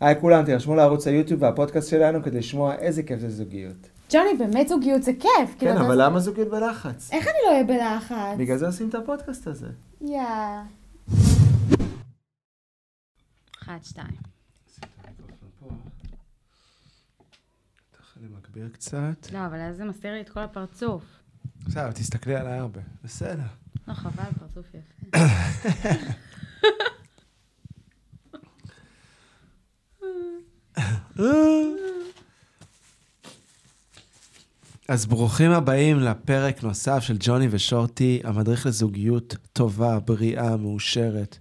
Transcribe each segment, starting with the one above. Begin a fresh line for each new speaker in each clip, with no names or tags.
היי כולם, תירשמו לערוץ היוטיוב והפודקאסט שלנו כדי לשמוע איזה כיף זה
כן,
זוגיות.
ג'וני, באמת זוגיות זה כיף.
כן,
כאילו, אתה-
אבל למה זוגיות בלחץ?
אה,
איך אני לא אהיה בלחץ?
בגלל זה עושים את הפודקאסט הזה.
יא.
אחת, שתיים.
אני מגביר קצת.
לא, אבל אז זה מסתיר לי את כל הפרצוף.
בסדר, תסתכלי עליי הרבה. בסדר.
לא, חבל, פרצוף יפה.
אז ברוכים הבאים לפרק נוסף של ג'וני ושורטי, המדריך לזוגיות טובה, בריאה, מאושרת,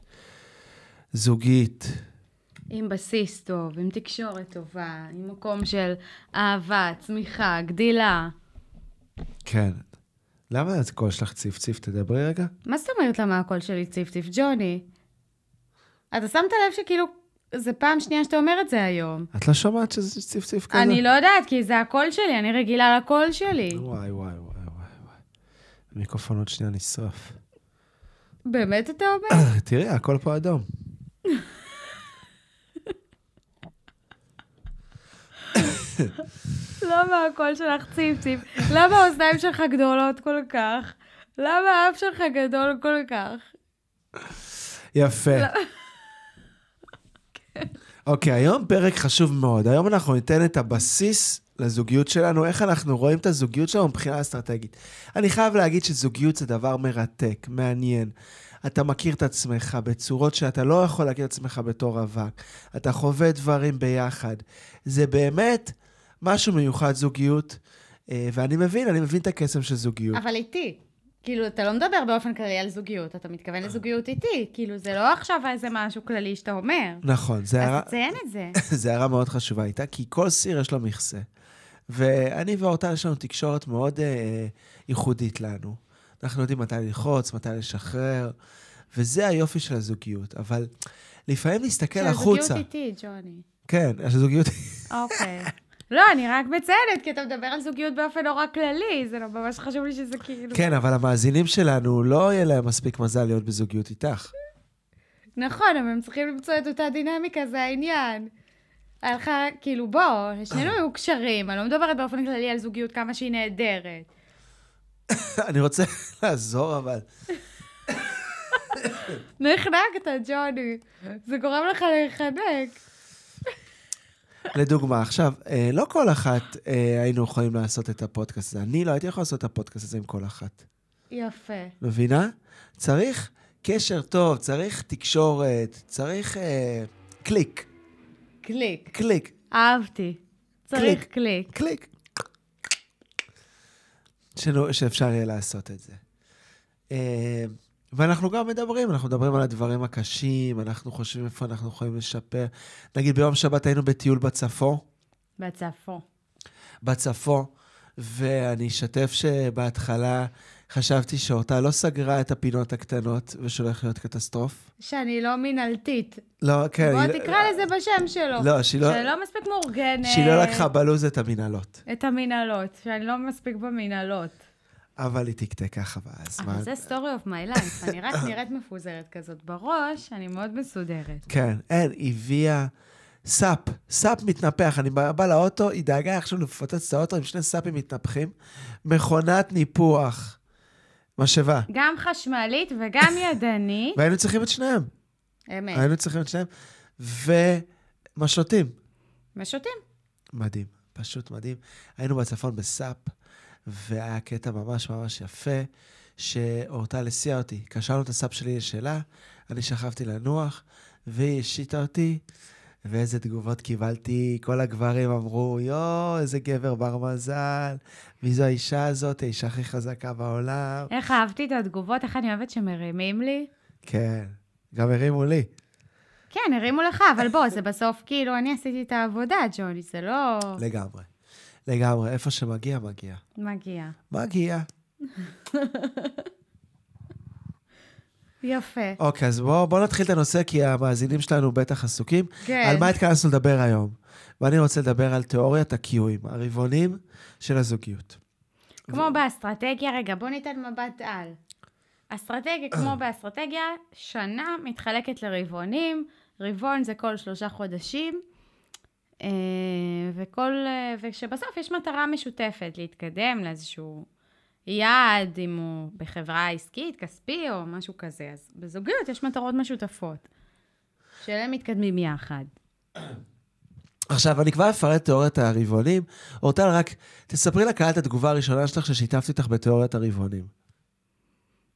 זוגית.
עם בסיס טוב, עם תקשורת טובה, עם מקום של אהבה, צמיחה, גדילה.
כן. למה את קול שלך ציפציף? תדברי רגע.
מה זאת אומרת למה הקול שלי ציף ציף ג'וני? אתה שמת לב שכאילו, זה פעם שנייה שאתה אומר את זה היום.
את לא שומעת שזה ציפציף כזה?
אני לא יודעת, כי זה הקול שלי, אני רגילה לקול שלי.
וואי, וואי, וואי, וואי, וואי. המיקרופון עוד שנייה נשרף.
באמת אתה אומר?
תראי, הכל פה אדום.
למה הקול שלך ציף ציף? למה האוזניים שלך גדולות כל כך? למה האף שלך גדול כל כך?
יפה. אוקיי, היום פרק חשוב מאוד. היום אנחנו ניתן את הבסיס לזוגיות שלנו, איך אנחנו רואים את הזוגיות שלנו מבחינה אסטרטגית. אני חייב להגיד שזוגיות זה דבר מרתק, מעניין. אתה מכיר את עצמך בצורות שאתה לא יכול להכיר את עצמך בתור רווק. אתה חווה דברים ביחד. זה באמת משהו מיוחד, זוגיות. אה, ואני מבין, אני מבין את הקסם של זוגיות.
אבל איתי. כאילו, אתה לא מדבר באופן כללי על זוגיות, אתה מתכוון לזוגיות איתי. כאילו, זה לא עכשיו איזה משהו כללי שאתה אומר.
נכון, זה
אז
הערה-
תציין את זה.
זו הערה מאוד חשובה איתה, כי כל סיר יש לו מכסה. ואני ואורטל יש לנו תקשורת מאוד אה, ייחודית לנו. אנחנו יודעים מתי ללחוץ, מתי לשחרר, וזה היופי של הזוגיות. אבל לפעמים להסתכל כן, החוצה.
שהזוגיות איתי, ג'וני.
כן, הזוגיות...
אוקיי. לא, אני רק מציינת, כי אתה מדבר על זוגיות באופן נורא כללי, זה לא ממש חשוב לי שזה כאילו...
כן, אבל המאזינים שלנו, לא יהיה להם מספיק מזל להיות בזוגיות איתך.
נכון, אבל הם צריכים למצוא את אותה דינמיקה, זה העניין. היה לך, כאילו, בוא, שנינו היו קשרים, אני לא מדברת באופן כללי על זוגיות כמה שהיא נהדרת.
אני רוצה לעזור, אבל...
נחנקת, לא ג'וני. זה גורם לך להיחנק.
לדוגמה, עכשיו, אה, לא כל אחת אה, היינו יכולים לעשות את הפודקאסט הזה. אני לא הייתי יכול לעשות את הפודקאסט הזה עם כל אחת.
יפה.
מבינה? צריך קשר טוב, צריך תקשורת, צריך אה, קליק,
קליק.
קליק,
אהבתי. צריך קליק.
קליק. שנו, שאפשר יהיה לעשות את זה. אה, ואנחנו גם מדברים, אנחנו מדברים על הדברים הקשים, אנחנו חושבים איפה אנחנו יכולים לשפר. נגיד ביום שבת היינו בטיול בצפון,
בצפון.
בצפון, ואני אשתף שבהתחלה חשבתי שאותה לא סגרה את הפינות הקטנות ושהולך להיות קטסטרופה.
שאני לא מינהלתית.
לא, כן.
בוא
היא-
תקרא לזה בשם שלו.
לא, שהיא לא-
שאני לא אה, מספיק מאורגנת.
שהיא לא לקחה בלוז את המנהלות.
את המינהלות. שאני לא מספיק במינהלות.
אבל היא תקתקה חבל הזמן.
אבל זה story of my life. אני רק נראית מפוזרת כזאת בראש, אני מאוד מסודרת.
כן, אין, היא הביאה סאפ, סאפ מתנפח. אני בא, בא לאוטו, היא דאגה עכשיו לפוצץ את האוטו עם שני סאפים מתנפחים. מכונת ניפוח. משאבה.
גם חשמלית וגם ידנית.
והיינו צריכים את שניהם.
אמת.
היינו צריכים את שניהם. ומשוטים.
משוטים.
מדהים, פשוט מדהים. היינו בצפון בסאפ, והיה קטע ממש ממש יפה, שאורטל הסיעה אותי. קשרנו את הסאפ שלי לשלה, אני שכבתי לנוח, והיא השיתה אותי, ואיזה תגובות קיבלתי. כל הגברים אמרו, יואו, איזה גבר בר מזל, מי זו האישה הזאת, האישה הכי חזקה בעולם.
איך אהבתי את התגובות, איך אני אוהבת שמרימים לי.
כן, גם הרימו לי.
כן, הרימו לך, אבל בוא, זה בסוף, כאילו, אני עשיתי את העבודה, ג'וני, זה לא
לגמרי. לגמרי, איפה שמגיע, מגיע.
מגיע.
מגיע.
יפה.
אוקיי, אז בואו בוא נתחיל את הנושא, כי המאזינים שלנו בטח עסוקים.
כן.
על מה התכנסנו לדבר היום? ואני רוצה לדבר על תיאוריית הקיואים, הרבעונים של הזוגיות.
כמו באסטרטגיה, רגע, בוא ניתן מבט על. אסטרטגיה, כמו באסטרטגיה, שנה מתחלקת לרבעונים, רבעון זה כל שלושה חודשים, אה, וכל, אה, ושבסוף יש מטרה משותפת להתקדם לאיזשהו יעד, אם הוא בחברה עסקית, כספי או משהו כזה. אז בזוגיות יש מטרות משותפות, שאליהן מתקדמים יחד.
עכשיו, אני כבר אפרט תיאוריית הרבעונים. אורטל, רק תספרי לקהל את התגובה הראשונה שלך ששיתפתי אותך בתיאוריית הרבעונים.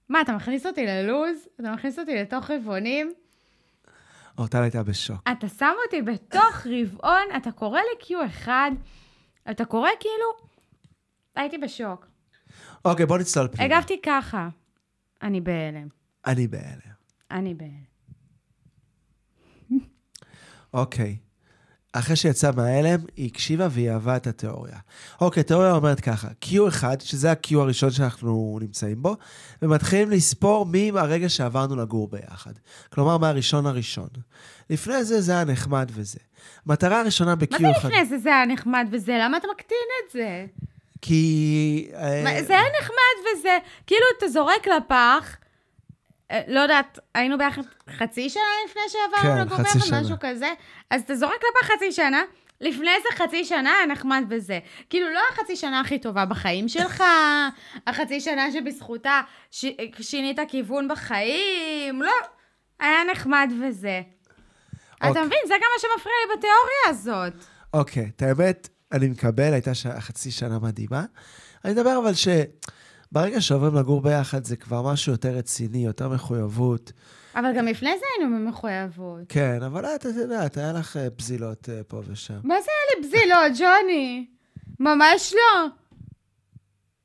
מה, אתה מכניס אותי ללוז? אתה מכניס אותי לתוך רבעונים?
אורטל הייתה בשוק.
אתה שם אותי בתוך רבעון, אתה קורא לי Q1, אתה קורא כאילו... הייתי בשוק.
אוקיי, בוא נצלול פנימה.
הגבתי ככה. אני בהלם.
אני בהלם.
אני בהלם.
אוקיי. אחרי שיצאה מההלם, היא הקשיבה והיא אהבה את התיאוריה. אוקיי, התיאוריה אומרת ככה, Q1, שזה ה-Q הראשון שאנחנו נמצאים בו, ומתחילים לספור מהרגע שעברנו לגור ביחד. כלומר, מהראשון הראשון. לפני זה, זה היה נחמד וזה. מטרה הראשונה ב-Q1...
מה זה לפני זה זה היה נחמד וזה? למה אתה מקטין את זה?
כי... אה,
מה, זה היה נחמד וזה... כאילו, אתה זורק לפח, אה, לא יודעת, היינו ביחד חצי שנה לפני
כן,
שעברנו לגור
חצי
ביחד,
שנה.
משהו כזה, אז אתה זורק לפח חצי שנה. לפני זה חצי שנה היה נחמד וזה. כאילו, לא החצי שנה הכי טובה בחיים שלך, החצי שנה שבזכותה ש... שינית כיוון בחיים, לא. היה נחמד וזה. אתה
אוקיי.
מבין? זה גם מה שמפריע לי בתיאוריה הזאת.
אוקיי, את האמת, אני מקבל, הייתה ש... חצי שנה מדהימה. אני מדבר אבל שברגע שעוברים לגור ביחד, זה כבר משהו יותר רציני, יותר מחויבות.
אבל גם לפני זה היינו במחויבות.
כן, אבל את, את יודעת, היה לך אה, פזילות אה, פה ושם.
מה זה היה לי בזילות, ג'וני? ממש לא.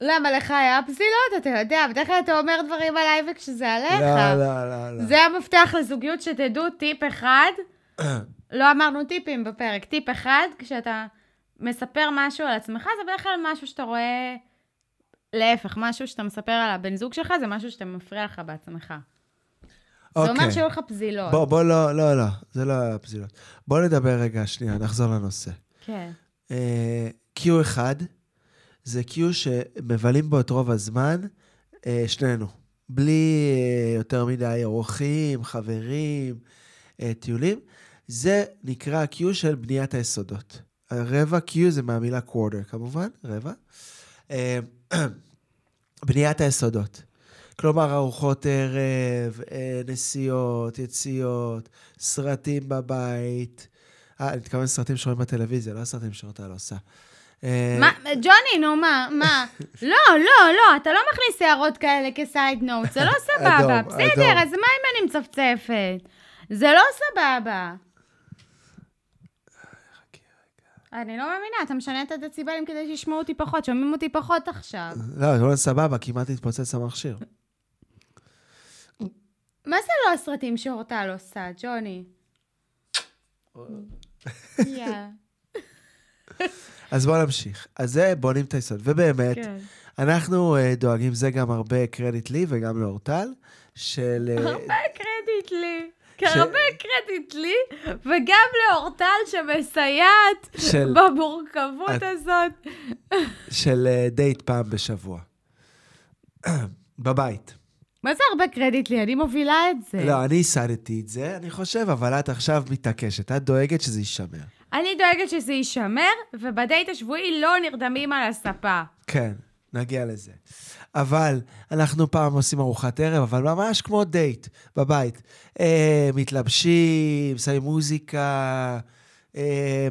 למה לך היה בזילות? אתה יודע, בדרך כלל אתה אומר דברים עליי וכשזה עליך.
לא, לא, לא, לא.
זה המפתח לזוגיות, שתדעו טיפ אחד. לא אמרנו טיפים בפרק. טיפ אחד, כשאתה מספר משהו על עצמך, זה בדרך כלל משהו שאתה רואה... להפך, משהו שאתה מספר על הבן זוג שלך, זה משהו שאתה מפריע לך בעצמך. זה אומר
אוקיי.
שהיו לך פזילות.
בוא, בוא, לא, לא, לא, זה לא היה פזילות. בוא נדבר רגע, שנייה, נחזור לנושא.
כן.
אה, Q1 זה Q שמבלים בו את רוב הזמן, אה, שנינו. בלי אה, יותר מדי אורחים, חברים, אה, טיולים. זה נקרא Q של בניית היסודות. רבע Q זה מהמילה quarter, כמובן, רבע. אה, בניית היסודות. כלומר, ארוחות ערב, אה, נסיעות, יציאות, סרטים בבית. אה, אני מתכוון לסרטים שרואים בטלוויזיה, לא סרטים שאותה לא עושה. אה,
מה, ג'וני, נו מה, מה? לא, לא, לא, אתה לא מכניס הערות כאלה כסייד נוט, זה לא סבבה.
אדום, אדום.
בסדר, אז מה אם אני מצפצפת? זה לא סבבה. אני לא מאמינה, אתה משנה את הדציבלים כדי שישמעו אותי פחות, שומעים אותי פחות עכשיו.
לא, זה לא סבבה, כמעט התפוצץ המכשיר.
מה זה לא הסרטים שאורטל עושה, ג'וני? יא.
אז בואו נמשיך. אז זה בונים את היסוד. ובאמת,
כן.
אנחנו אה, דואגים, זה גם הרבה קרדיט לי וגם לאורטל, של... אה,
הרבה קרדיט לי. הרבה קרדיט לי, וגם לאורטל שמסייעת
של- את-
במורכבות הזאת.
של אה, דייט פעם בשבוע. בבית.
מה זה הרבה קרדיט לי? אני מובילה את זה.
לא, אני הסדתי את זה, אני חושב, אבל את עכשיו מתעקשת. את דואגת שזה יישמר.
אני דואגת שזה יישמר, ובדייט השבועי לא נרדמים על הספה.
כן, נגיע לזה. אבל אנחנו פעם עושים ארוחת ערב, אבל ממש כמו דייט בבית. אה, מתלבשים, שמים מוזיקה, אה,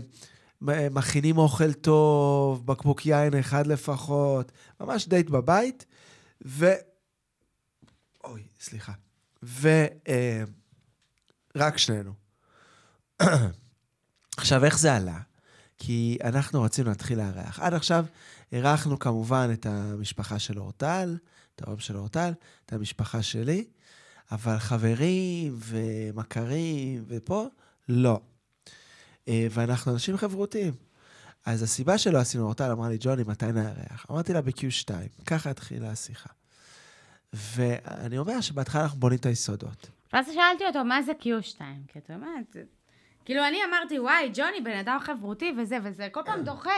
מ- מכינים אוכל טוב, בקבוק יין אחד לפחות, ממש דייט בבית, ו... אוי, סליחה. ו... אה, רק שנינו. עכשיו, איך זה עלה? כי אנחנו רצינו להתחיל לארח. עד עכשיו אירחנו כמובן את המשפחה של אורטל, את ההורים של אורטל, את המשפחה שלי, אבל חברים ומכרים ופה, לא. אה, ואנחנו אנשים חברותיים. אז הסיבה שלא עשינו, אורטל אמרה לי, ג'וני, מתי נארח? אמרתי לה ב-Q2, ככה התחילה השיחה. ואני אומר שבהתחלה אנחנו בונים את היסודות.
ואז שאלתי אותו, מה זה Q2? כי אתה יודע, זה- כאילו, אני אמרתי, וואי, ג'וני, בן אדם חברותי וזה וזה, כל פעם דוחה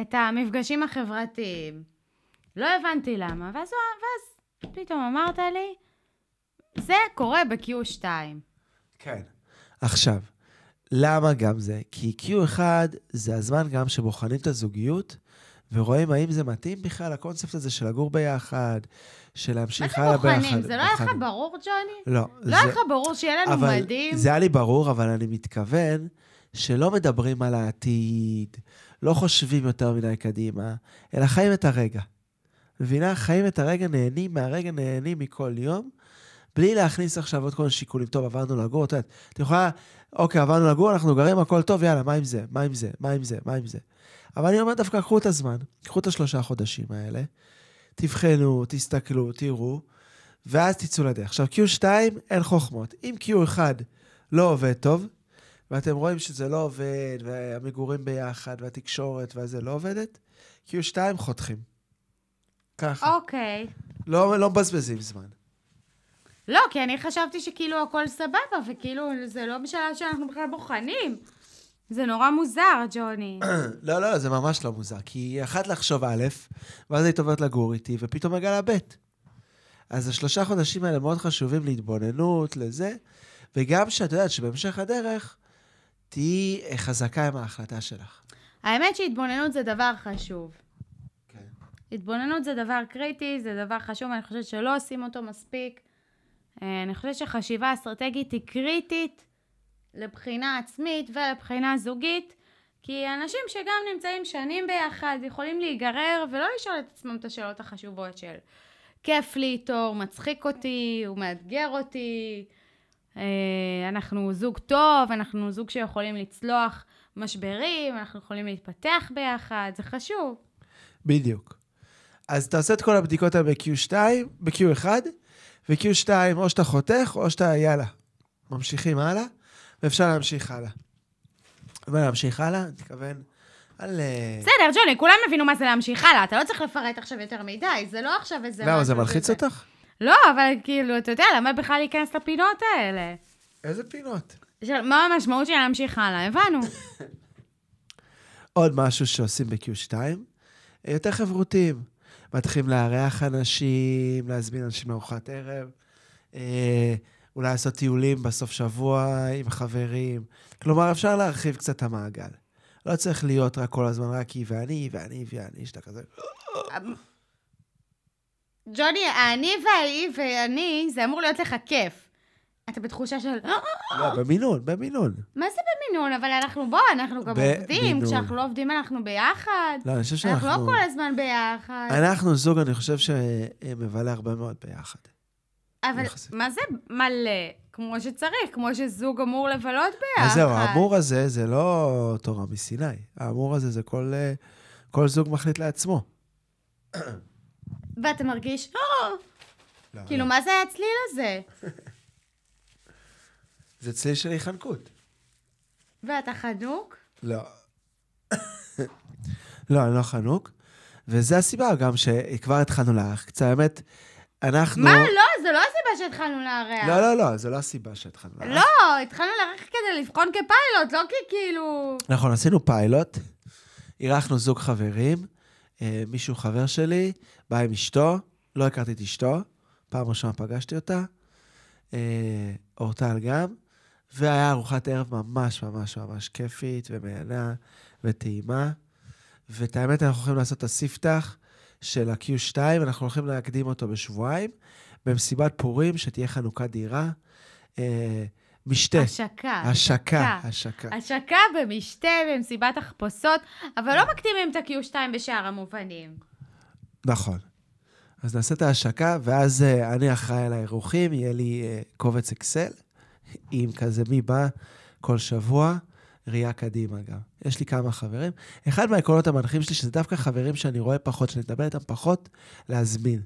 את המפגשים החברתיים. לא הבנתי למה, ואז, הוא- ואז פתאום אמרת לי, זה קורה ב-Q2.
כן. עכשיו, למה גם זה? כי Q1 זה הזמן גם שבוחנים את הזוגיות ורואים האם זה מתאים בכלל, הקונספט הזה של לגור ביחד, של
מה
להמשיך
זה
הלאה ביחד.
בוחנים? זה לא היה לך
בוחנים.
ברור, ג'וני?
לא.
לא היה
זה-
לך ברור שיהיה לנו
אבל
מדהים?
זה היה לי ברור, אבל אני מתכוון שלא מדברים על העתיד, לא חושבים יותר מדי קדימה, אלא חיים את הרגע. מבינה? חיים את הרגע, נהנים מהרגע, נהנים מכל יום, בלי להכניס עכשיו עוד כל מיני שיקולים. טוב, עברנו לגור, את יודעת, את יכולה, אוקיי, עברנו לגור, אנחנו גרים, הכל טוב, יאללה, מה עם זה? מה עם זה? מה עם זה? מה עם זה? אבל אני אומר דווקא, קחו את הזמן, קחו את השלושה חודשים האלה, תבחנו, תסתכלו, תראו, ואז תצאו לדרך. עכשיו, Q2, אין חוכמות. אם Q1 לא עובד טוב, ואתם רואים שזה לא עובד, והמגורים ביחד, והתקשורת, והזה לא עובדת, Q2 חותכים. ככה.
אוקיי.
לא לא מבזבזים זמן.
לא, כי אני חשבתי שכאילו הכל סבבה, וכאילו זה לא בשלב שאנחנו בכלל בוחנים. זה נורא מוזר, ג'וני.
לא, לא, זה ממש לא מוזר, כי היא אחת לחשוב א', ואז היית עוברת לגור איתי, ופתאום מגלה ב'. אז השלושה חודשים האלה מאוד חשובים להתבוננות, לזה, וגם שאת יודעת שבהמשך הדרך, תהיי חזקה עם ההחלטה שלך.
האמת שהתבוננות זה דבר חשוב.
כן.
התבוננות זה דבר קריטי, זה דבר חשוב, אני חושבת שלא עושים אותו מספיק. אה, אני חושבת שחשיבה אסטרטגית היא קריטית לבחינה עצמית ולבחינה זוגית, כי אנשים שגם נמצאים שנים ביחד יכולים להיגרר ולא לשאול את עצמם את השאלות החשובות של כיף לי איתו, הוא מצחיק אותי, הוא מאתגר אותי, אה, אנחנו זוג טוב, אנחנו זוג שיכולים לצלוח משברים, אנחנו יכולים להתפתח ביחד, זה חשוב.
בדיוק. אז אתה עושה את כל הבדיקות האלה ב-Q2, ב-Q1, ו-Q2 או שאתה חותך, או שאתה יאללה. ממשיכים הלאה, ואפשר להמשיך הלאה. ולהמשיך הלאה, אני מתכוון על... אה,
בסדר, ג'וני, כולם הבינו מה זה להמשיך הלאה, אתה לא צריך לפרט עכשיו יותר מדי, זה לא עכשיו איזה...
למה,
משהו
זה מלחיץ
כזה.
אותך?
לא, אבל כאילו, אתה יודע, למה בכלל להיכנס לפינות האלה?
איזה פינות?
של מה המשמעות של להמשיך הלאה? הבנו.
עוד משהו שעושים ב-Q2, יותר חברותיים. מתחילים לארח אנשים, להזמין אנשים לארוחת ערב, אה, אולי לעשות טיולים בסוף שבוע עם חברים. כלומר, אפשר להרחיב קצת את המעגל. לא צריך להיות רק כל הזמן רק היא ואני, ואני ואני, שאתה כזה...
ג'וני, אני והאי ואני, זה אמור להיות לך כיף. אתה בתחושה של, "אה,
לא, במינון, במינון.
מה זה במינון? אבל אנחנו, בוא, אנחנו גם
במינון.
עובדים, כשאנחנו לא עובדים אנחנו ביחד.
לא, אני חושב
אנחנו
שאנחנו...
לא כל הזמן ביחד.
אנחנו זוג, אני חושב שמבלה הרבה מאוד ביחד.
אבל
יחסית.
מה זה מלא? כמו שצריך, כמו שזוג אמור לבלות ביחד.
אז זהו, האמור הזה זה לא תורה מסיני. האמור הזה זה כל, אה, כל זוג מחליט לעצמו.
ואתה מרגיש, "אה,
לא,
כאילו,
לא.
מה זה הצליל הזה?
זה צליל של היחנקות.
ואתה חנוק?
לא. לא, אני לא חנוק. וזה הסיבה גם שכבר התחלנו לארח. קצת האמת, אנחנו...
מה? לא, זו לא הסיבה שהתחלנו לארח.
לא, לא, לא, זו לא הסיבה שהתחלנו לארח.
לא, התחלנו לארח כדי לבחון כפיילוט, לא כי כאילו...
נכון, עשינו פיילוט, אירחנו זוג חברים, אה, מישהו חבר שלי, בא עם אשתו, לא הכרתי את אשתו, פעם ראשונה פגשתי אותה, אה, אורטל גם, והיה ארוחת ערב ממש ממש ממש כיפית ומהנה וטעימה, ואת האמת אנחנו הולכים לעשות את הספתח של ה-Q2, אנחנו הולכים להקדים אותו בשבועיים, במסיבת פורים שתהיה חנוכת דירה, אה, משתה,
השקה.
השקה, השקה.
השקה במשתה, במסיבת תחפושות, אבל לא מקדימים את ה-Q2 בשאר המובנים.
נכון. אז נעשה את ההשקה, ואז אה, אני אחראי על האירוחים, יהיה לי אה, קובץ אקסל, עם כזה מי בא כל שבוע, ראייה קדימה גם. יש לי כמה חברים. אחד מהעקרונות המנחים שלי, שזה דווקא חברים שאני רואה פחות, שאני מדבר איתם פחות, להזמין.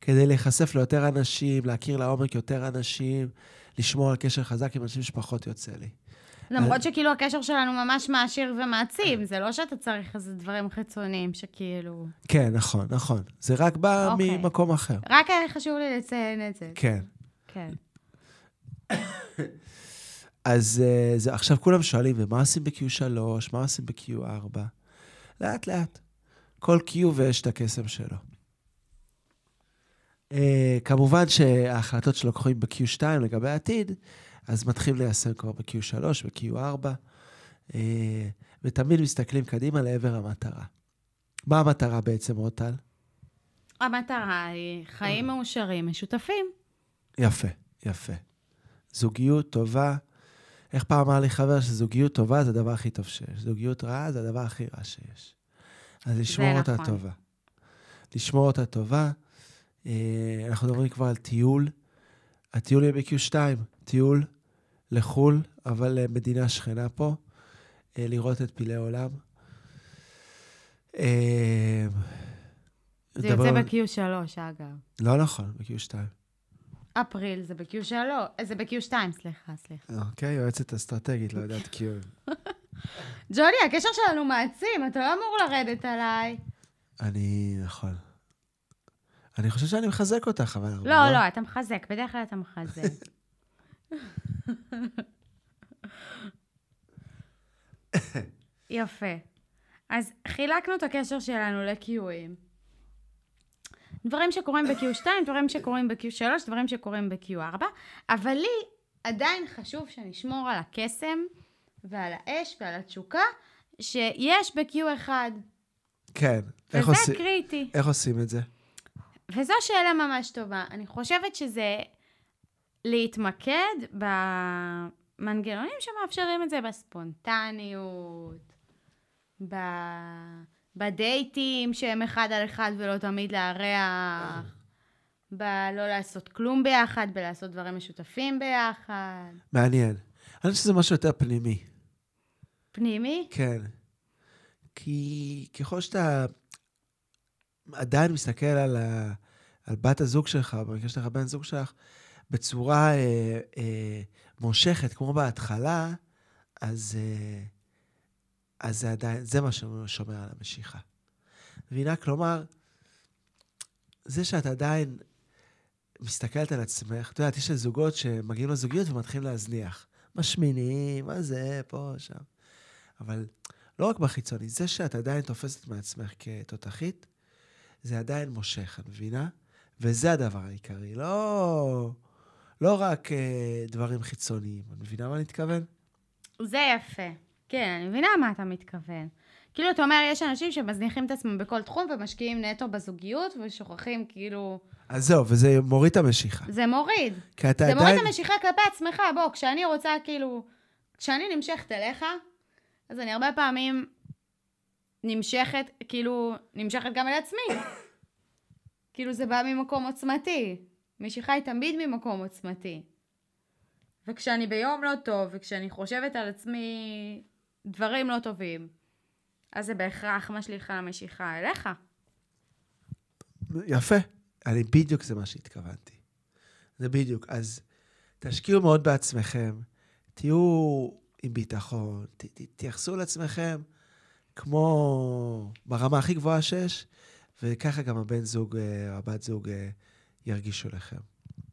כדי להיחשף ליותר אנשים, להכיר לעומק יותר אנשים, לשמור על קשר חזק עם אנשים שפחות יוצא לי. אה.
למרות שכאילו הקשר שלנו ממש מעשיר ומעצים, זה לא שאתה צריך איזה דברים חיצוניים שכאילו...
כן, נכון, נכון. זה רק בא
אוקיי.
ממקום אחר.
רק היה חשוב לי לציין את זה.
כן.
כן.
אז אה, זה, עכשיו כולם שואלים, ומה עושים ב-Q3? מה עושים ב-Q4? לאט-לאט. כל Q ויש את הקסם שלו. אה, כמובן שההחלטות שלוקחים ב-Q2 לגבי העתיד, אז מתחילים ליישם כבר ב-Q3, ב-Q4, אה, ותמיד מסתכלים קדימה לעבר המטרה. מה המטרה בעצם, עוד טל?
המטרה היא חיים מאושרים, משותפים.
יפה, יפה. זוגיות טובה. איך פעם אמר לי חבר שזוגיות טובה זה הדבר הכי טוב שיש, זוגיות רעה זה הדבר הכי רע שיש. אז לשמור אותה
נכון.
טובה. לשמור אותה טובה. אה, אנחנו מדברים כבר על טיול. הטיול יהיה ב-Q2, טיול לחו"ל, אבל אה, מדינה שכנה פה, אה, לראות את פלאי עולם. אה,
זה
נדבר
יוצא
על-
ב-Q3, אגב.
לא נכון, ב-Q2.
אפריל זה ב-Q3, אה, זה ב-Q2, סליחה, סליחה.
אוקיי, יועצת אסטרטגית, לא יודעת
אוקיי.
קיול.
ג'ולי, הקשר שלנו מעצים, אתה לא אמור לרדת עליי.
אני, נכון. אני חושב שאני מחזק אותך, אבל...
לא, לא, אתה מחזק, בדרך כלל אתה מחזק. יפה. אז חילקנו את הקשר שלנו ל-Qים. דברים שקורים ב-Q2, דברים שקורים ב-Q3, דברים שקורים ב-Q4, אבל לי עדיין חשוב שנשמור על הקסם ועל האש ועל התשוקה שיש ב-Q1.
כן. איך
וזה
עושים-
קריטי.
איך עושים את זה?
וזו שאלה ממש טובה. אני חושבת שזה להתמקד במנגנונים שמאפשרים את זה, בספונטניות, ב... בדייטים שהם אחד על אחד ולא תמיד לארח, בלא לעשות כלום ביחד, בלעשות דברים משותפים ביחד.
מעניין. אני חושב שזה משהו יותר פנימי.
פנימי?
כן. כי ככל שאתה עדיין מסתכל על, ה... על בת הזוג שלך, במקרה שלך, בן זוג שלך, בצורה אה, אה, מושכת, כמו בהתחלה, אז, אה, אז זה עדיין, זה מה ששומר על המשיכה. מבינה? כלומר, זה שאת עדיין מסתכלת על עצמך, את יודעת, יש זוגות שמגיעים לזוגיות ומתחילים להזניח. משמינים, מה זה, פה, שם. אבל לא רק בחיצוני, זה שאת עדיין תופסת מעצמך כתותחית, זה עדיין מושך, את מבינה? וזה הדבר העיקרי, לא, לא רק אה, דברים חיצוניים. את מבינה מה אני מתכוון?
זה יפה. כן, אני מבינה מה אתה מתכוון. כאילו, אתה אומר, יש אנשים שמזניחים את עצמם בכל תחום ומשקיעים נטו בזוגיות ושוכחים, כאילו...
אז זהו, וזה מוריד את המשיכה.
זה מוריד.
כי אתה
זה מוריד
עדיין...
את המשיכה כלפי עצמך. בוא, כשאני רוצה, כאילו, כשאני נמשכת אליך, אז אני הרבה פעמים נמשכת, כאילו, נמשכת גם אל עצמי. כאילו, זה בא ממקום עוצמתי. משיכה היא תמיד ממקום עוצמתי. וכשאני ביום לא טוב, וכשאני חושבת על עצמי דברים לא טובים, אז זה בהכרח משליך על המשיכה אליך.
יפה. אני בדיוק זה מה שהתכוונתי. זה בדיוק. אז תשקיעו מאוד בעצמכם, תהיו עם ביטחון, ת, ת, תייחסו לעצמכם כמו ברמה הכי גבוהה שיש, וככה גם הבן זוג, אה, הבת זוג, אה, ירגישו לכם.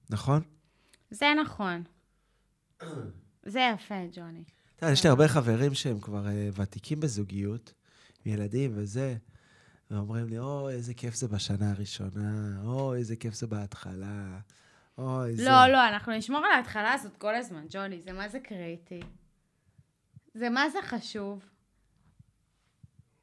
נכון?
זה נכון. זה יפה, ג'וני.
אתה יודע, יש לי הרבה חברים שהם כבר אה, ותיקים בזוגיות, עם ילדים וזה, ואומרים לי, אוי, איזה כיף זה בשנה הראשונה, אוי, איזה כיף זה בהתחלה, אוי, זה...
לא, לא, אנחנו נשמור על ההתחלה הזאת כל הזמן, ג'וני, זה מה זה קריטי. זה מה זה חשוב.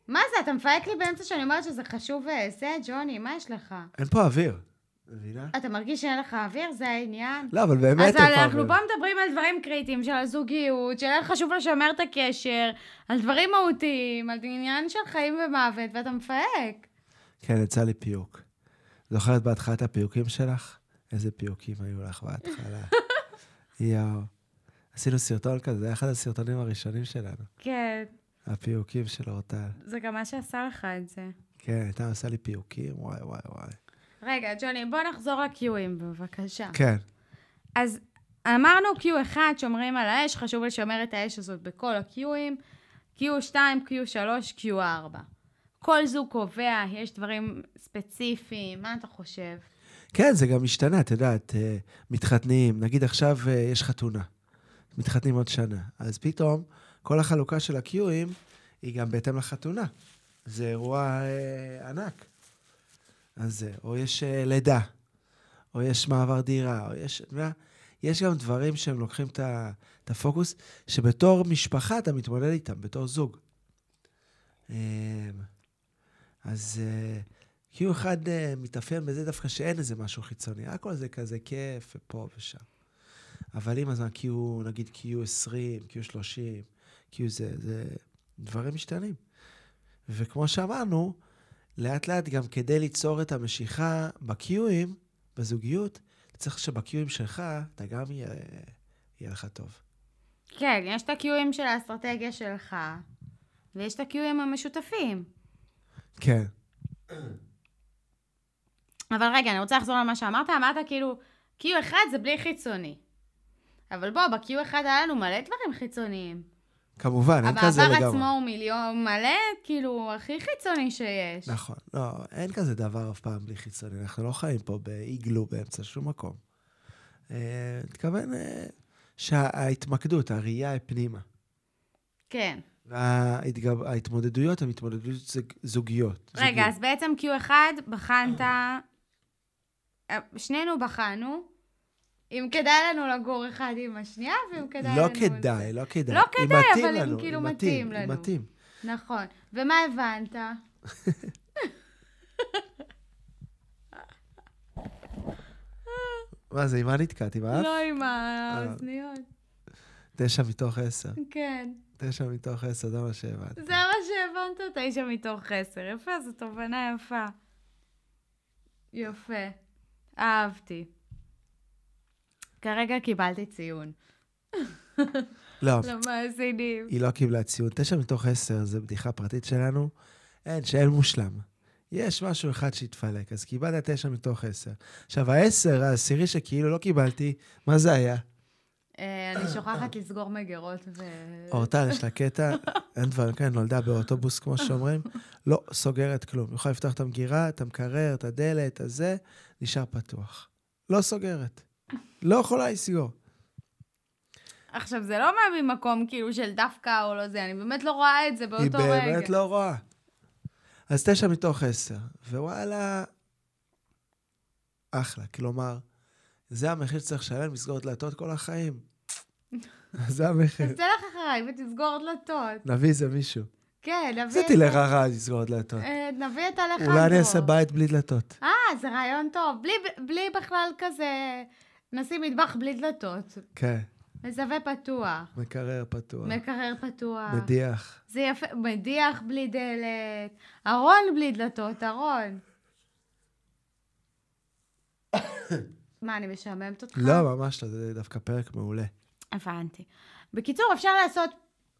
מה זה, אתה מפהק לי באמצע שאני אומרת שזה חשוב וזה, ג'וני, מה יש לך?
אין פה אוויר, מבינה?
אתה מרגיש שאין לך אוויר? זה העניין?
לא, אבל באמת אין
אז
פה אוויר.
אנחנו פה מדברים על דברים קריטיים, של הזוגיות, של איך חשוב לשמר את הקשר, על דברים מהותיים, על עניין של חיים ומוות, ואתה מפהק.
כן, יצא לי פיוק. זוכרת בהתחלה את הפיוקים שלך? איזה פיוקים היו לך בהתחלה. יואו. עשינו סרטון כזה, זה היה אחד הסרטונים הראשונים שלנו.
כן,
הפיוקים של אורטל.
זה גם מה שעשה לך את זה.
כן, הייתה עושה לי פיוקים, וואי, וואי, וואי.
רגע, ג'וני, בוא נחזור לקיואים, בבקשה.
כן.
אז אמרנו Q1, שומרים על האש, חשוב לשמר את האש הזאת בכל ה-Qים, Q2, Q3, Q4. כל זוג קובע, יש דברים ספציפיים, מה אתה חושב?
כן, זה גם משתנה, את יודעת, אה, מתחתנים, נגיד עכשיו אה, יש חתונה, מתחתנים עוד שנה, אז פתאום כל החלוקה של הקיואים היא גם בהתאם לחתונה. זה אירוע אה, ענק. אז זה, או יש אה, לידה, או יש מעבר דירה, או יש, אתה יודע, יש גם דברים שהם לוקחים את ה- את הפוקוס, שבתור משפחה אתה מתמודד איתם, בתור זוג. אמ, אז אה, כאילו אחד אה, מתאפיין בזה דווקא שאין איזה משהו חיצוני, הכל זה כזה כיף ופה ושם. אבל עם הזמן, Q, נגיד Q20, Q30, Q זה, זה דברים משתנים. וכמו שאמרנו, לאט לאט גם כדי ליצור את המשיכה ב-Qים, בזוגיות, אתה צריך שבקיואים שלך, אתה גם יהיה, יהיה לך טוב.
כן, יש את הקיואים של האסטרטגיה שלך, ויש את הקיואים המשותפים.
כן.
אבל רגע, אני רוצה לחזור למה שאמרת. אמרת כאילו, קיו אחד זה בלי חיצוני. אבל בוא, בקיו אחד היה לנו מלא דברים חיצוניים.
כמובן, אין כזה
המעבר
לגמרי.
עצמו הוא מיליון מלא, כאילו, הכי חיצוני שיש.
נכון. לא, אין כזה דבר אף פעם בלי חיצוני. אנחנו לא חיים פה באיגלו באמצע שום מקום. אה, מתכוון אה, שההתמקדות, הראייה היא פנימה.
כן.
וההתגב- ההתמודדויות הן התמודדויות זוג- זוגיות.
רגע,
זוגיות.
אז בעצם Q1 בחנת... אה, שנינו בחנו אם כדאי לנו לגור אחד עם השנייה, ואם כדאי לנו...
לא כדאי, לא כדאי.
לא
אם
כדאי,
מתאים
אבל אם
לנו,
כאילו
אם
מתאים
אם
לנו.
מתאים.
נכון. ומה הבנת?
מה זה, עם מה נתקעת? עם האף?
לא עם האוזניות.
תשע מתוך עשר.
אה, כן.
תשע מתוך עשר, זה מה שהבנתי.
זה מה שהבנת, תשע מתוך עשר. יפה, זו תובנה יפה. יפה. אהבתי. כרגע קיבלתי ציון
לא,
למאזינים.
היא לא קיבלה ציון. תשע מתוך עשר זה בדיחה פרטית שלנו. אין, שאין מושלם. יש משהו אחד שהתפלק, אז קיבלת תשע מתוך עשר. עכשיו, העשר העשירי שכאילו לא קיבלתי, מה זה היה?
אה, אני שוכחת לסגור מגירות ו...
אורטל, יש לה קטע, אין דברים כאלה, נולדה באוטובוס, כמו שאומרים, לא סוגרת כלום. היא יכולה לפתוח את המגירה, את המקרר, את הדלת, את זה, נשאר פתוח. לא סוגרת. לא יכולה לסגור.
עכשיו, זה לא בא ממקום כאילו של דווקא או לא זה, אני באמת לא רואה את זה
היא
באותו רגע.
באמת לא רואה. אז תשע מתוך עשר, ווואלה, אחלה. כלומר, זה המחיר שצריך לשלם, לסגור דלתות כל החיים. זה המחיר.
אז תלך אחריי ותסגור דלתות.
נביא איזה מישהו.
כן, נביא...
עשיתי
את-
לרע לסגור דלתות.
אה, נביא את הלחנדרו.
אולי אני אעשה בית בלי דלתות.
אה, זה רעיון טוב. בלי, בלי בכלל כזה... נשים מטבח בלי דלתות.
כן,
מזווה פתוח.
מקרר פתוח.
מקרר פתוח.
מדיח.
זה יפה, מדיח בלי דלת. ארון בלי דלתות, ארון. מה, אני משעממת אותך?
לא, ממש לא, זה דווקא פרק מעולה.
הבנתי. בקיצור, אפשר לעשות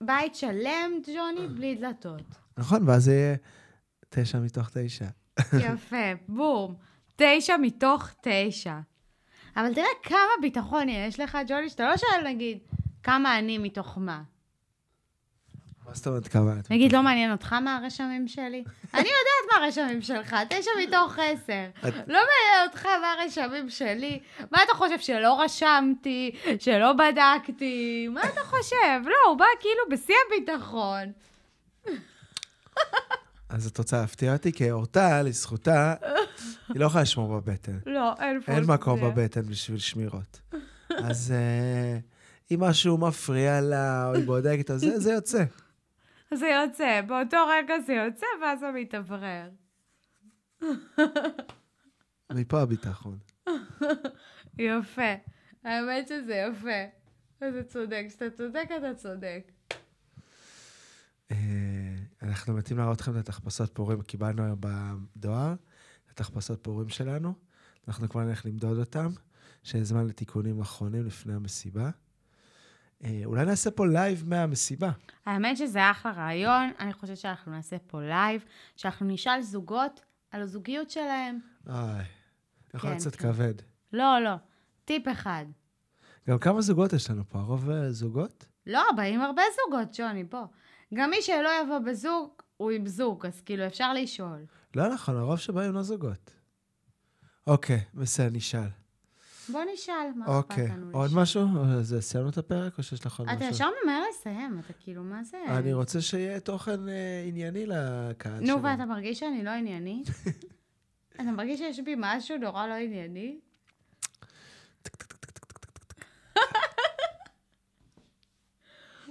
בית שלם, ג'וני, בלי דלתות.
נכון, ואז זה יהיה תשע מתוך תשע.
יפה, בום. תשע מתוך תשע. אבל תראה כמה ביטחון יש לך, ג'וני, שאתה לא שואל, נגיד, כמה אני מתוך מה.
מה זאת אומרת כמה? את-
נגיד, לא מעניין אותך מה הרשמים שלי? אני יודעת מה הרשמים שלך, תשע מתוך עשר.
את-
לא מעניין אותך מה הרשמים שלי? מה אתה חושב, שלא רשמתי, שלא בדקתי? מה אתה חושב? לא, הוא בא כאילו בשיא הביטחון.
אז את רוצה להפתיע אותי? כי אורטל, לזכותה, היא לא יכולה לשמור בבטן.
לא, אין פונקציה.
אין מקום בבטן בשביל שמירות. אז אה, אם משהו מפריע לה, או היא בודקת, אז זה- זה יוצא.
זה יוצא, באותו רגע זה יוצא, ואז זה מתאוורר.
מפה הביטחון.
יפה. האמת שזה יפה. אתה צודק. כשאתה צודק, אתה צודק.
אה, אנחנו מתים להראות לכם את התחפשות פורים, קיבלנו היום בדואר, את התחפשות פורים שלנו. אנחנו כבר נלך למדוד אותם, שיהיה זמן לתיקונים אחרונים לפני המסיבה. אה, אולי נעשה פה לייב מהמסיבה.
האמת שזה אחלה רעיון. אני חושבת שאנחנו נעשה פה לייב, שאנחנו נשאל זוגות על הזוגיות שלהם.
איי, יכול
כן,
להיות קצת
כן.
כבד.
לא, לא. טיפ אחד.
גם כמה זוגות יש לנו פה? הרוב אה, זוגות?
לא, באים הרבה זוגות, ג'וני, בוא. גם מי שלא יבוא בזוג, הוא עם זוג, אז כאילו אפשר לשאול.
לא נכון, הרוב שבאים לא זוגות. אוקיי, בסדר, נשאל.
בוא נשאל, מה אכפת
אוקיי,
לנו
עוד
לשאול.
משהו? אז סיימנו את הפרק או שיש לך עוד
אתה
משהו?
ישר ממהר לסיים, אתה כאילו, מה זה?
אני רוצה שיהיה תוכן אה, ענייני לקהל שלנו.
נו, ואתה מרגיש שאני לא עניינית? אתה מרגיש שיש בי משהו נורא לא ענייני?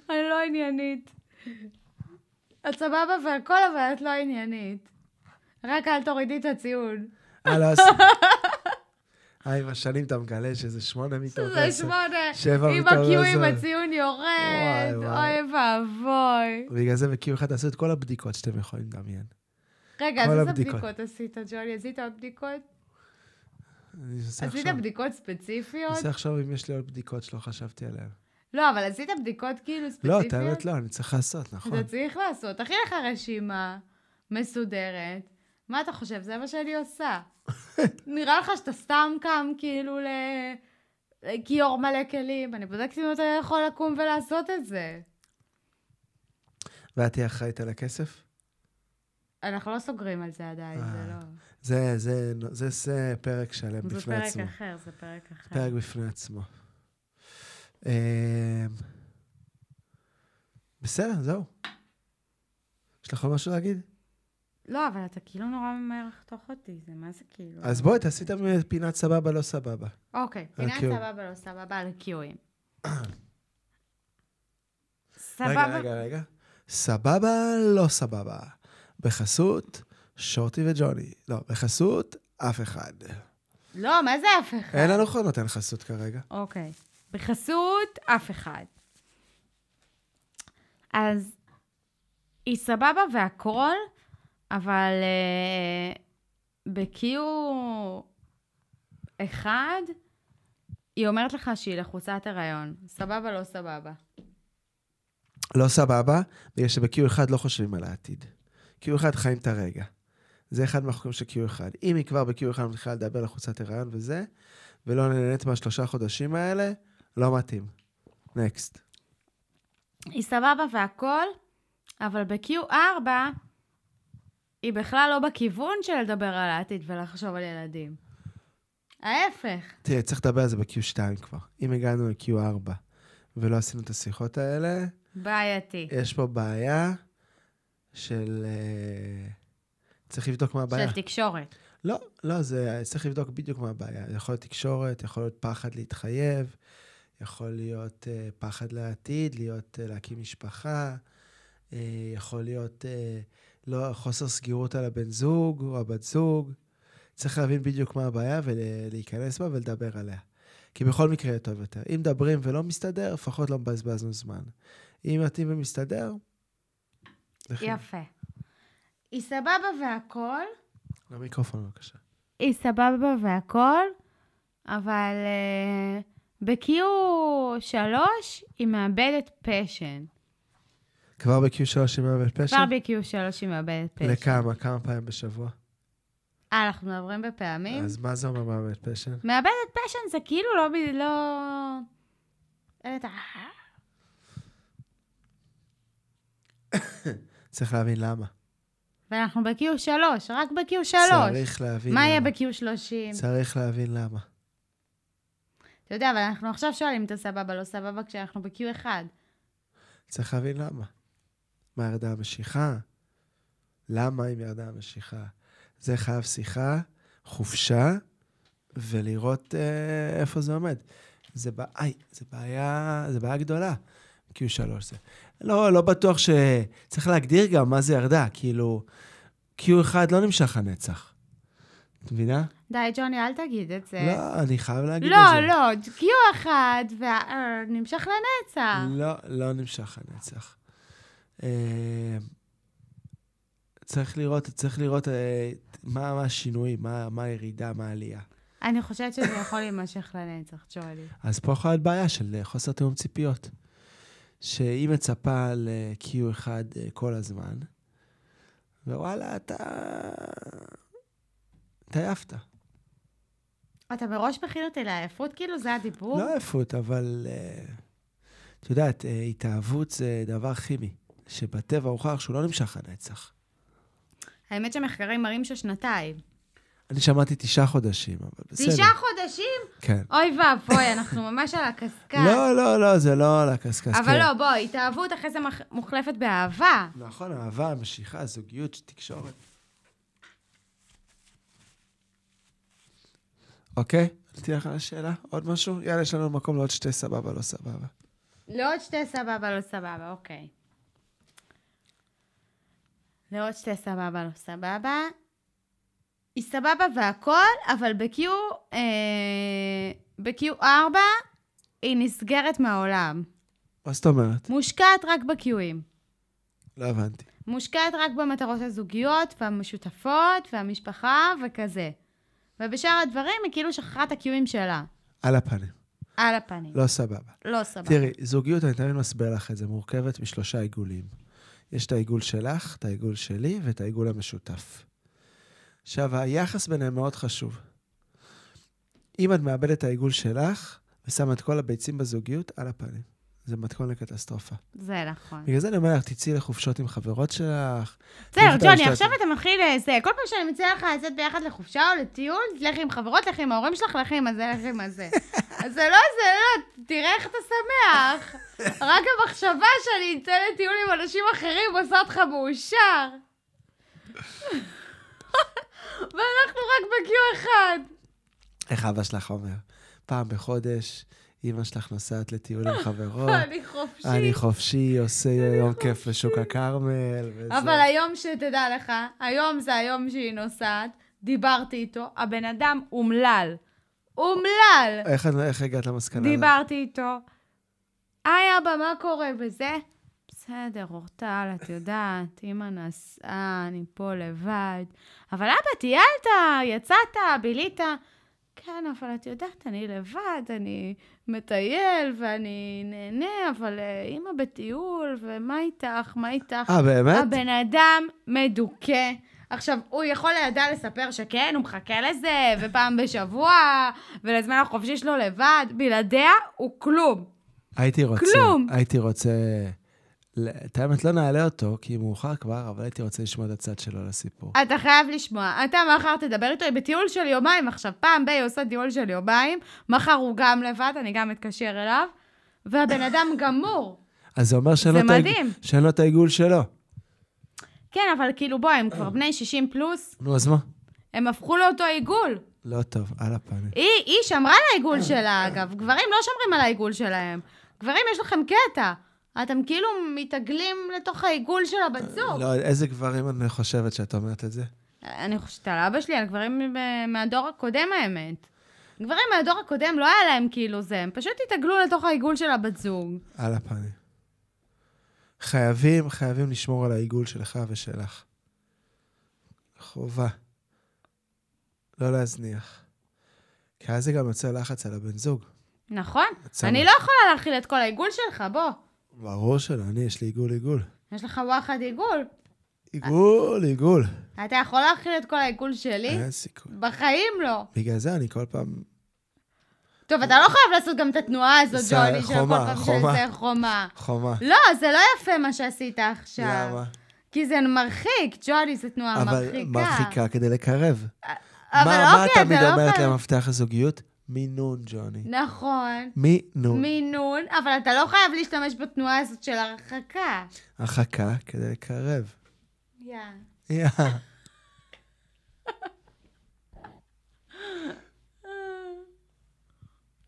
לא עניינית. את סבבה והכל, אבל את לא עניינית. רק אל תורידי את הציון.
אה, לא, אז... אה, עם השנים אתה מגלה שזה שמונה מתוך
זה
עשר.
שמונה,
שבע
עם
מתוך
הקיואים
עשר.
הציון יורד,
וואי, וואי.
אוי ואבוי.
בגלל זה בקיו אחד תעשו את כל הבדיקות שאתם יכולים לדמיין.
רגע,
כל
אז איזה
הבדיקות.
בדיקות עשית, ג'ולי? עשית עוד בדיקות?
אני עושה
עשית
עכשיו-
בדיקות
אני
ספציפיות?
עושה עכשיו אם יש לי עוד בדיקות שלא חשבתי עליהן.
לא, אבל עשית בדיקות כאילו
לא,
ספציפיות?
את האמת לא, אני צריך לעשות, נכון.
אתה צריך לעשות. תכין לך רשימה מסודרת. מה אתה חושב? זה מה שאני עושה. נראה לך שאתה סתם קם כאילו ל... כיור מלא כלים. אני בודקת אם אתה יכול לקום ולעשות את זה.
ואת תהיי אחראית על הכסף?
אנחנו לא סוגרים על זה עדיין, זה
אה,
לא...
זה, זה, זה, זה פרק שלם
זה
בפני
פרק
עצמו.
אחר, זה פרק אחר.
פרק בפני עצמו. אה, בסדר, זהו. יש לך עוד משהו להגיד?
לא, אבל אתה כאילו נורא ממהר לחתוך אותי, זה מה זה כאילו?
אז בואי, תעשי כאילו. את פינת סבבה, לא סבבה.
אוקיי, פינת
הקיו.
סבבה לא סבבה על הקיואים.
רגע,
סבבה.
רגע, רגע. סבבה, לא סבבה. בחסות שורטי וג'וני. לא, בחסות אף אחד.
לא, מה זה אף אחד?
אין לנו כל נותן חסות כרגע.
אוקיי. בחסות אף אחד. אז היא סבבה והכול, אבל אה, ב-Q אחד, היא אומרת לך שהיא לחוצת הריון. סבבה, לא סבבה.
לא סבבה, בגלל שב-Q1 לא חושבים על העתיד. Q1 חיים את הרגע. זה אחד מהחוקים של Q1. אם היא כבר ב-Q1 מתחילה לדבר על חוצת הריון וזה, ולא נהנית מהשלושה חודשים האלה, לא מתאים. נקסט.
היא סבבה והכול, אבל ב-Q4 היא בכלל לא בכיוון של לדבר על העתיד ולחשוב על ילדים. ההפך.
תראה, צריך לדבר על זה ב-Q2 כבר. אם הגענו ל-Q4 ולא עשינו את השיחות האלה,
בעייתי.
יש פה בעיה של... אה, צריך לבדוק מה הבעיה.
של תקשורת.
לא, לא, זה, צריך לבדוק בדיוק מה הבעיה. זה יכול להיות תקשורת, יכול להיות פחד להתחייב, יכול להיות אה, פחד לעתיד, להיות, אה, להקים משפחה, אה, יכול להיות אה, לא, חוסר סגירות על הבן זוג או הבת זוג. צריך להבין בדיוק מה הבעיה ולהיכנס בה ולדבר עליה. כי בכל מקרה יהיה טוב יותר. אם מדברים ולא מסתדר, לפחות לא מבזבזנו זמן. אם מתאים ומסתדר, זה חינם.
יפה. היא סבבה והכול,
למיקרופון בבקשה.
היא סבבה והכול, אבל uh, ב-Q3 היא מאבדת פשן.
כבר ב-Q3 היא מאבדת פשע?
כבר ב-Q3 היא מאבדת פשן.
לכמה? כמה פעמים בשבוע?
אה, אנחנו מדברים בפעמים?
אז מה זה אומר מאבד פשן?
מאבדת פשן זה כאילו לא... ב- לא... אין את ה-
צריך להבין למה.
ואנחנו ב-Q3, רק ב-Q3.
צריך להבין
מה
למה.
יהיה ב-Q30?
צריך להבין למה.
אתה יודע, אבל אנחנו עכשיו שואלים את הסבבה, לא סבבה, כשאנחנו ב-Q1.
צריך להבין למה. מה ירדה המשיכה? למה אם ירדה המשיכה? זה חייב שיחה, חופשה, ולראות אה, איפה זה עומד. זה, בע... איי, זה, בעיה, זה בעיה גדולה, Q3 זה. לא, לא בטוח ש... צריך להגדיר גם מה זה ירדה, כאילו, Q1 לא נמשך הנצח. את מבינה?
די, ג'וני, אל תגיד את זה.
לא, אני חייב להגיד את זה.
לא, לא, קיו אחד, ונמשך לנצח.
לא, לא נמשך הנצח. אה, צריך לראות, צריך לראות אה, מה, מה השינויים, מה, מה הירידה, מה העלייה.
אני חושבת שזה יכול להימשך לנצח, ג'ולי.
אז פה יכולה להיות בעיה של אה, חוסר תיאום ציפיות. שהיא מצפה ל-Q1 אה, כל הזמן, ווואלה, אתה... התעייפת.
אתה מראש מכין אותי לעייפות, כאילו זה הדיבור?
לא עייפות, אבל... אה, את יודעת, אה, התאהבות זה דבר כימי, שבטבע הוכח שהוא לא נמשך הנצח.
האמת שמחקרים מראים ששנתיים.
אני שמעתי תשעה חודשים, אבל בסדר.
תשעה חודשים?
כן.
אוי ואבוי, אנחנו ממש על הקשקש.
לא, לא, לא, זה לא על הקשקש.
כן. אבל
כן.
לא, בואי, התאהבות אחרי זה מח- מוחלפת באהבה.
נכון, אהבה, משיכה, זוגיות, תקשורת. אוקיי, נתתי לך על השאלה. עוד משהו? יאללה, יש לנו מקום לעוד שתי סבבה, לא סבבה.
לעוד שתי סבבה, לא סבבה, אוקיי. לעוד שתי סבבה, לא סבבה. היא סבבה והכל, אבל ב-Q, אה, ב-Q4 היא נסגרת מהעולם.
מה זאת אומרת?
מושקעת רק ב-Qים.
לא הבנתי.
מושקעת רק במטרות הזוגיות והמשותפות והמשפחה וכזה. ובשאר הדברים היא כאילו שכחה את הקיואים שלה.
על הפנים.
על הפנים.
לא סבבה.
לא סבבה.
תראי, זוגיות, אני תמיד מסביר לך את זה, מורכבת משלושה עיגולים. יש את העיגול שלך, את העיגול שלי ואת העיגול המשותף. עכשיו, היחס ביניהם מאוד חשוב. אם את מאבדת את העיגול שלך ושמה את כל הביצים בזוגיות, על הפנים. זה מתכון לקטסטרופה.
זה נכון.
בגלל זה אני אומר לך, תצאי לחופשות עם חברות שלך.
בסדר,
תלכי את
ג'וני,
המשלחת.
עכשיו אתה מתחיל זה. כל פעם שאני מציעה לך לצאת ביחד לחופשה או לטיול, לכי עם חברות, לכי עם ההורים שלך, לכי עם הזה, לכי עם הזה. אז זה לא, זה לא, תראה איך אתה שמח. רק המחשבה שאני אצא לטיול עם אנשים אחרים עושה אותך מאושר. ואנחנו רק ב-Q אחד.
איך אבא שלך אומר? פעם בחודש, אמא שלך נוסעת לטיול עם חברות.
אני אה, חופשי.
אה, אני חופשי, עושה יום כיף בשוק הכרמל. וזה.
אבל היום שתדע לך, היום זה היום שהיא נוסעת, דיברתי איתו, הבן אדם אומלל. אומלל!
איך את- איך הגעת למסקנה? הזאת?
דיברתי איתו. היי אבא, מה קורה וזה? בסדר, אורטל, את יודעת, אמא נסעה, אני פה לבד. אבל אבא, טיילת, יצאת, בילית. כן, אבל את יודעת, אני לבד, אני מטייל ואני נהנה, אבל אה, אמא בטיול, ומה איתך, מה איתך?
אה, באמת?
הבן אדם מדוכא. עכשיו, הוא יכול לידע לספר שכן, הוא מחכה לזה, ופעם בשבוע, ולזמן החופשי שלו לבד. בלעדיה הוא כלום.
הייתי רוצה...
כלום.
הייתי רוצה... ל- את האמת, לא נעלה אותו, כי מאוחר כבר, אבל הייתי רוצה לשמוע את הצד שלו לסיפור.
אתה חייב לשמוע. אתה מחר תדבר איתו, היא בטיול של יומיים עכשיו. פעם בי עושה טיול של יומיים, מחר הוא גם לבד, אני גם אתקשר אליו, והבן אדם גמור.
אז זה אומר שאין
זה
לו את העיג-
מדהים.
שאין לו את העיגול שלו.
כן, אבל כאילו, בוא, הם כבר בני 60 פלוס,
נו, אז מה?
הם הפכו לאותו עיגול.
לא טוב, על הפנים.
היא, היא שמרה על
אה,
העיגול שלה, אגב. גברים לא שומרים על העיגול שלהם. גברים, יש לכם קטע. אתם כאילו מתעגלים לתוך העיגול של הבת זוג.
לא, איזה גברים אני חושבת שאת אומרת את זה?
אני חושבת על אבא שלי, על גברים אה, מהדור הקודם, האמת. גברים מהדור הקודם, לא היה להם כאילו זה, הם פשוט התעגלו לתוך העיגול של הבת זוג.
על הפנים. חייבים, חייבים לשמור על העיגול שלך ושלך. חובה. לא להזניח. כי אז זה גם יוצא לחץ על הבן זוג.
נכון?
עצמה.
אני לא יכולה להכיל את כל העיגול שלך, בוא.
ברור שלא, אני, יש לי עיגול עיגול.
יש לך וואחד עיגול.
עיגול עיגול.
אתה יכול להכיל את כל העיגול שלי?
אין סיכוי.
בחיים לא.
בגלל זה אני כל פעם...
טוב, אתה לא חייב לעשות גם את התנועה הזאת,
זה
ג'וני, של כל
חומה,
פעם
חומה.
שזה חומה.
חומה.
לא, זה לא יפה מה שעשית עכשיו.
למה?
כי זה מרחיק, ג'ולי, זו תנועה
אבל
מרחיקה.
מרחיקה כדי לקרב.
אבל
מה מה
אוקיי,
תמיד
אתה לא
אומרת
חייב-
למפתח הזוגיות? מינון, ג'וני.
נכון,
מינון.
מינון, אבל אתה לא חייב להשתמש בתנועה הזאת של הרחקה.
הרחקה כדי לקרב.
יא.
יא.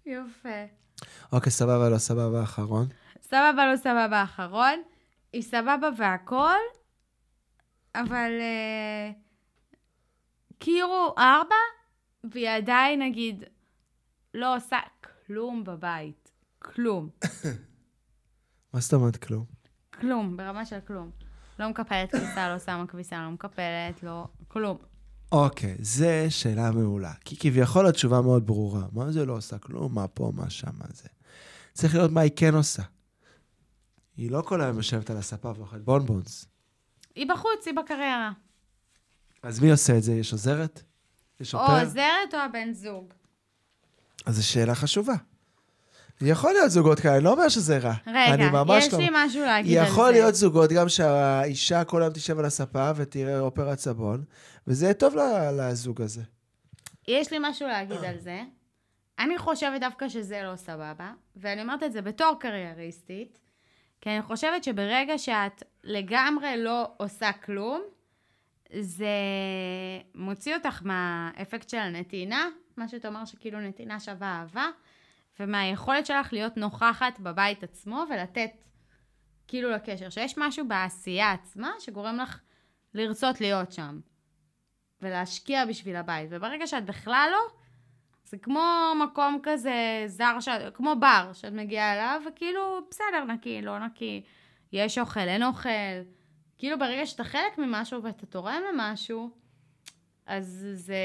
יפה.
אוקיי, סבבה, לא סבבה, אחרון.
סבבה, לא סבבה, אחרון. היא סבבה והכל, אבל אה, קירו ארבע, והיא עדיין, נגיד, לא עושה כלום בבית. כלום.
מה זאת אומרת כלום?
כלום, ברמה של כלום. לא מקפלת כביסה, לא שמה כביסה, לא מקפלת, לא... כלום.
אוקיי, זה שאלה מעולה. כי כביכול התשובה מאוד ברורה. מה זה לא עושה כלום? מה פה, מה שם, מה זה? צריך לראות מה היא כן עושה. היא לא כל היום יושבת על הספה ואוכלת בונבונס.
היא בחוץ, היא בקריירה.
אז מי עושה את זה? יש עוזרת? יש
או
אופר?
עוזרת או הבן זוג.
אז זו שאלה חשובה. יכול להיות זוגות כאלה, אני לא אומר שזה רע.
רגע,
אני ממש
יש
לא...
לי משהו להגיד על זה.
יכול להיות זוגות גם שהאישה כל היום תשב על הספה ותראה אופרת סבון, וזה יהיה טוב ל- לזוג הזה.
יש לי משהו להגיד על זה. אני חושבת דווקא שזה לא סבבה, ואני אומרת את זה בתור קרייריסטית, כי אני חושבת שברגע שאת לגמרי לא עושה כלום, זה מוציא אותך מהאפקט של הנתינה, מה שאתה אומר שכאילו נתינה שווה אהבה, ומהיכולת שלך להיות נוכחת בבית עצמו ולתת כאילו לקשר, שיש משהו בעשייה עצמה שגורם לך לרצות להיות שם ולהשקיע בשביל הבית, וברגע שאת בכלל לא, זה כמו מקום כזה זר, ש... כמו בר שאת מגיעה אליו, וכאילו, בסדר, נקי, לא נקי, יש אוכל, אין אוכל. כאילו, ברגע שאתה חלק ממשהו ואתה תורם למשהו, אז זה,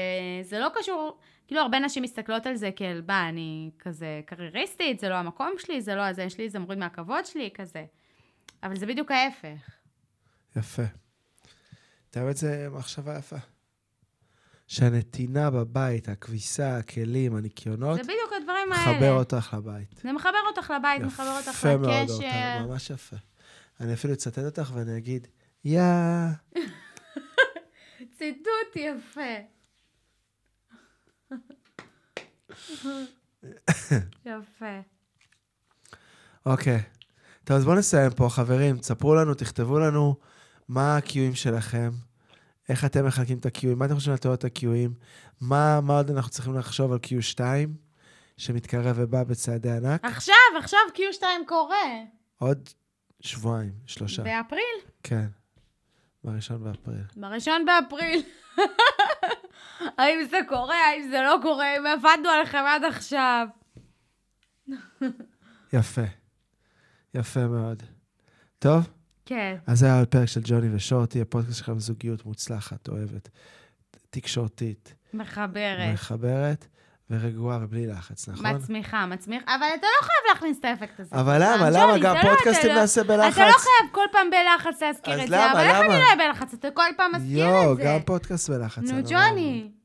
זה לא קשור, כאילו, הרבה נשים מסתכלות על זה כאל, בא, אני כזה קרייריסטית, זה לא המקום שלי, זה לא הזה שלי, זה מוריד מהכבוד שלי, כזה. אבל זה בדיוק ההפך.
יפה. באמת זו מחשבה יפה. שהנתינה בבית, הכביסה, הכלים, הניקיונות,
זה בדיוק הדברים האלה.
מחבר אותך לבית.
זה מחבר אותך לבית, מחבר אותך
יפה מאוד,
לקשר.
אותה, ממש יפה. אני אפילו אצטט אותך ואני אגיד, יא,
ציטוט יפה. יפה.
אוקיי. טוב, אז בואו נסיים פה, חברים. תספרו לנו, תכתבו לנו מה ה-Qים שלכם, איך אתם מחלקים את ה-Qים, מה אתם חושבים על תיאוריות ה-Qים, מה, מה עוד אנחנו צריכים לחשוב על Q2, שמתקרב ובא בצעדי ענק.
עכשיו, עכשיו Q2 קורה.
עוד שבועיים, שלושה.
באפריל.
כן, בראשון באפריל.
בראשון באפריל. האם זה קורה, האם זה לא קורה, אם עבדנו עליכם עד עכשיו.
יפה. יפה מאוד. טוב,
כן.
אז זה היה עוד פרק של ג'וני ושורטי, הפודקאסט שלכם זוגיות מוצלחת, אוהבת, תקשורתית,
מחברת.
מחברת ורגועה ובלי לחץ, נכון?
מצמיחה, מצמיח, אבל אתה לא חייב להכניס את האפקט הזה.
אבל למה,
ג'וני,
למה?
זה
גם
לא,
פודקאסטים
אתה לא-
נעשה בלחץ.
אתה לא חייב כל פעם בלחץ להזכיר
אז
את
למה,
זה, אבל איך
למה?
אני לא אהיה בלחץ? אתה כל פעם מזכיר את
יואו,
זה.
גם פודקאסט בלחץ.
נו,
אני לא מאמין.
ג'וני.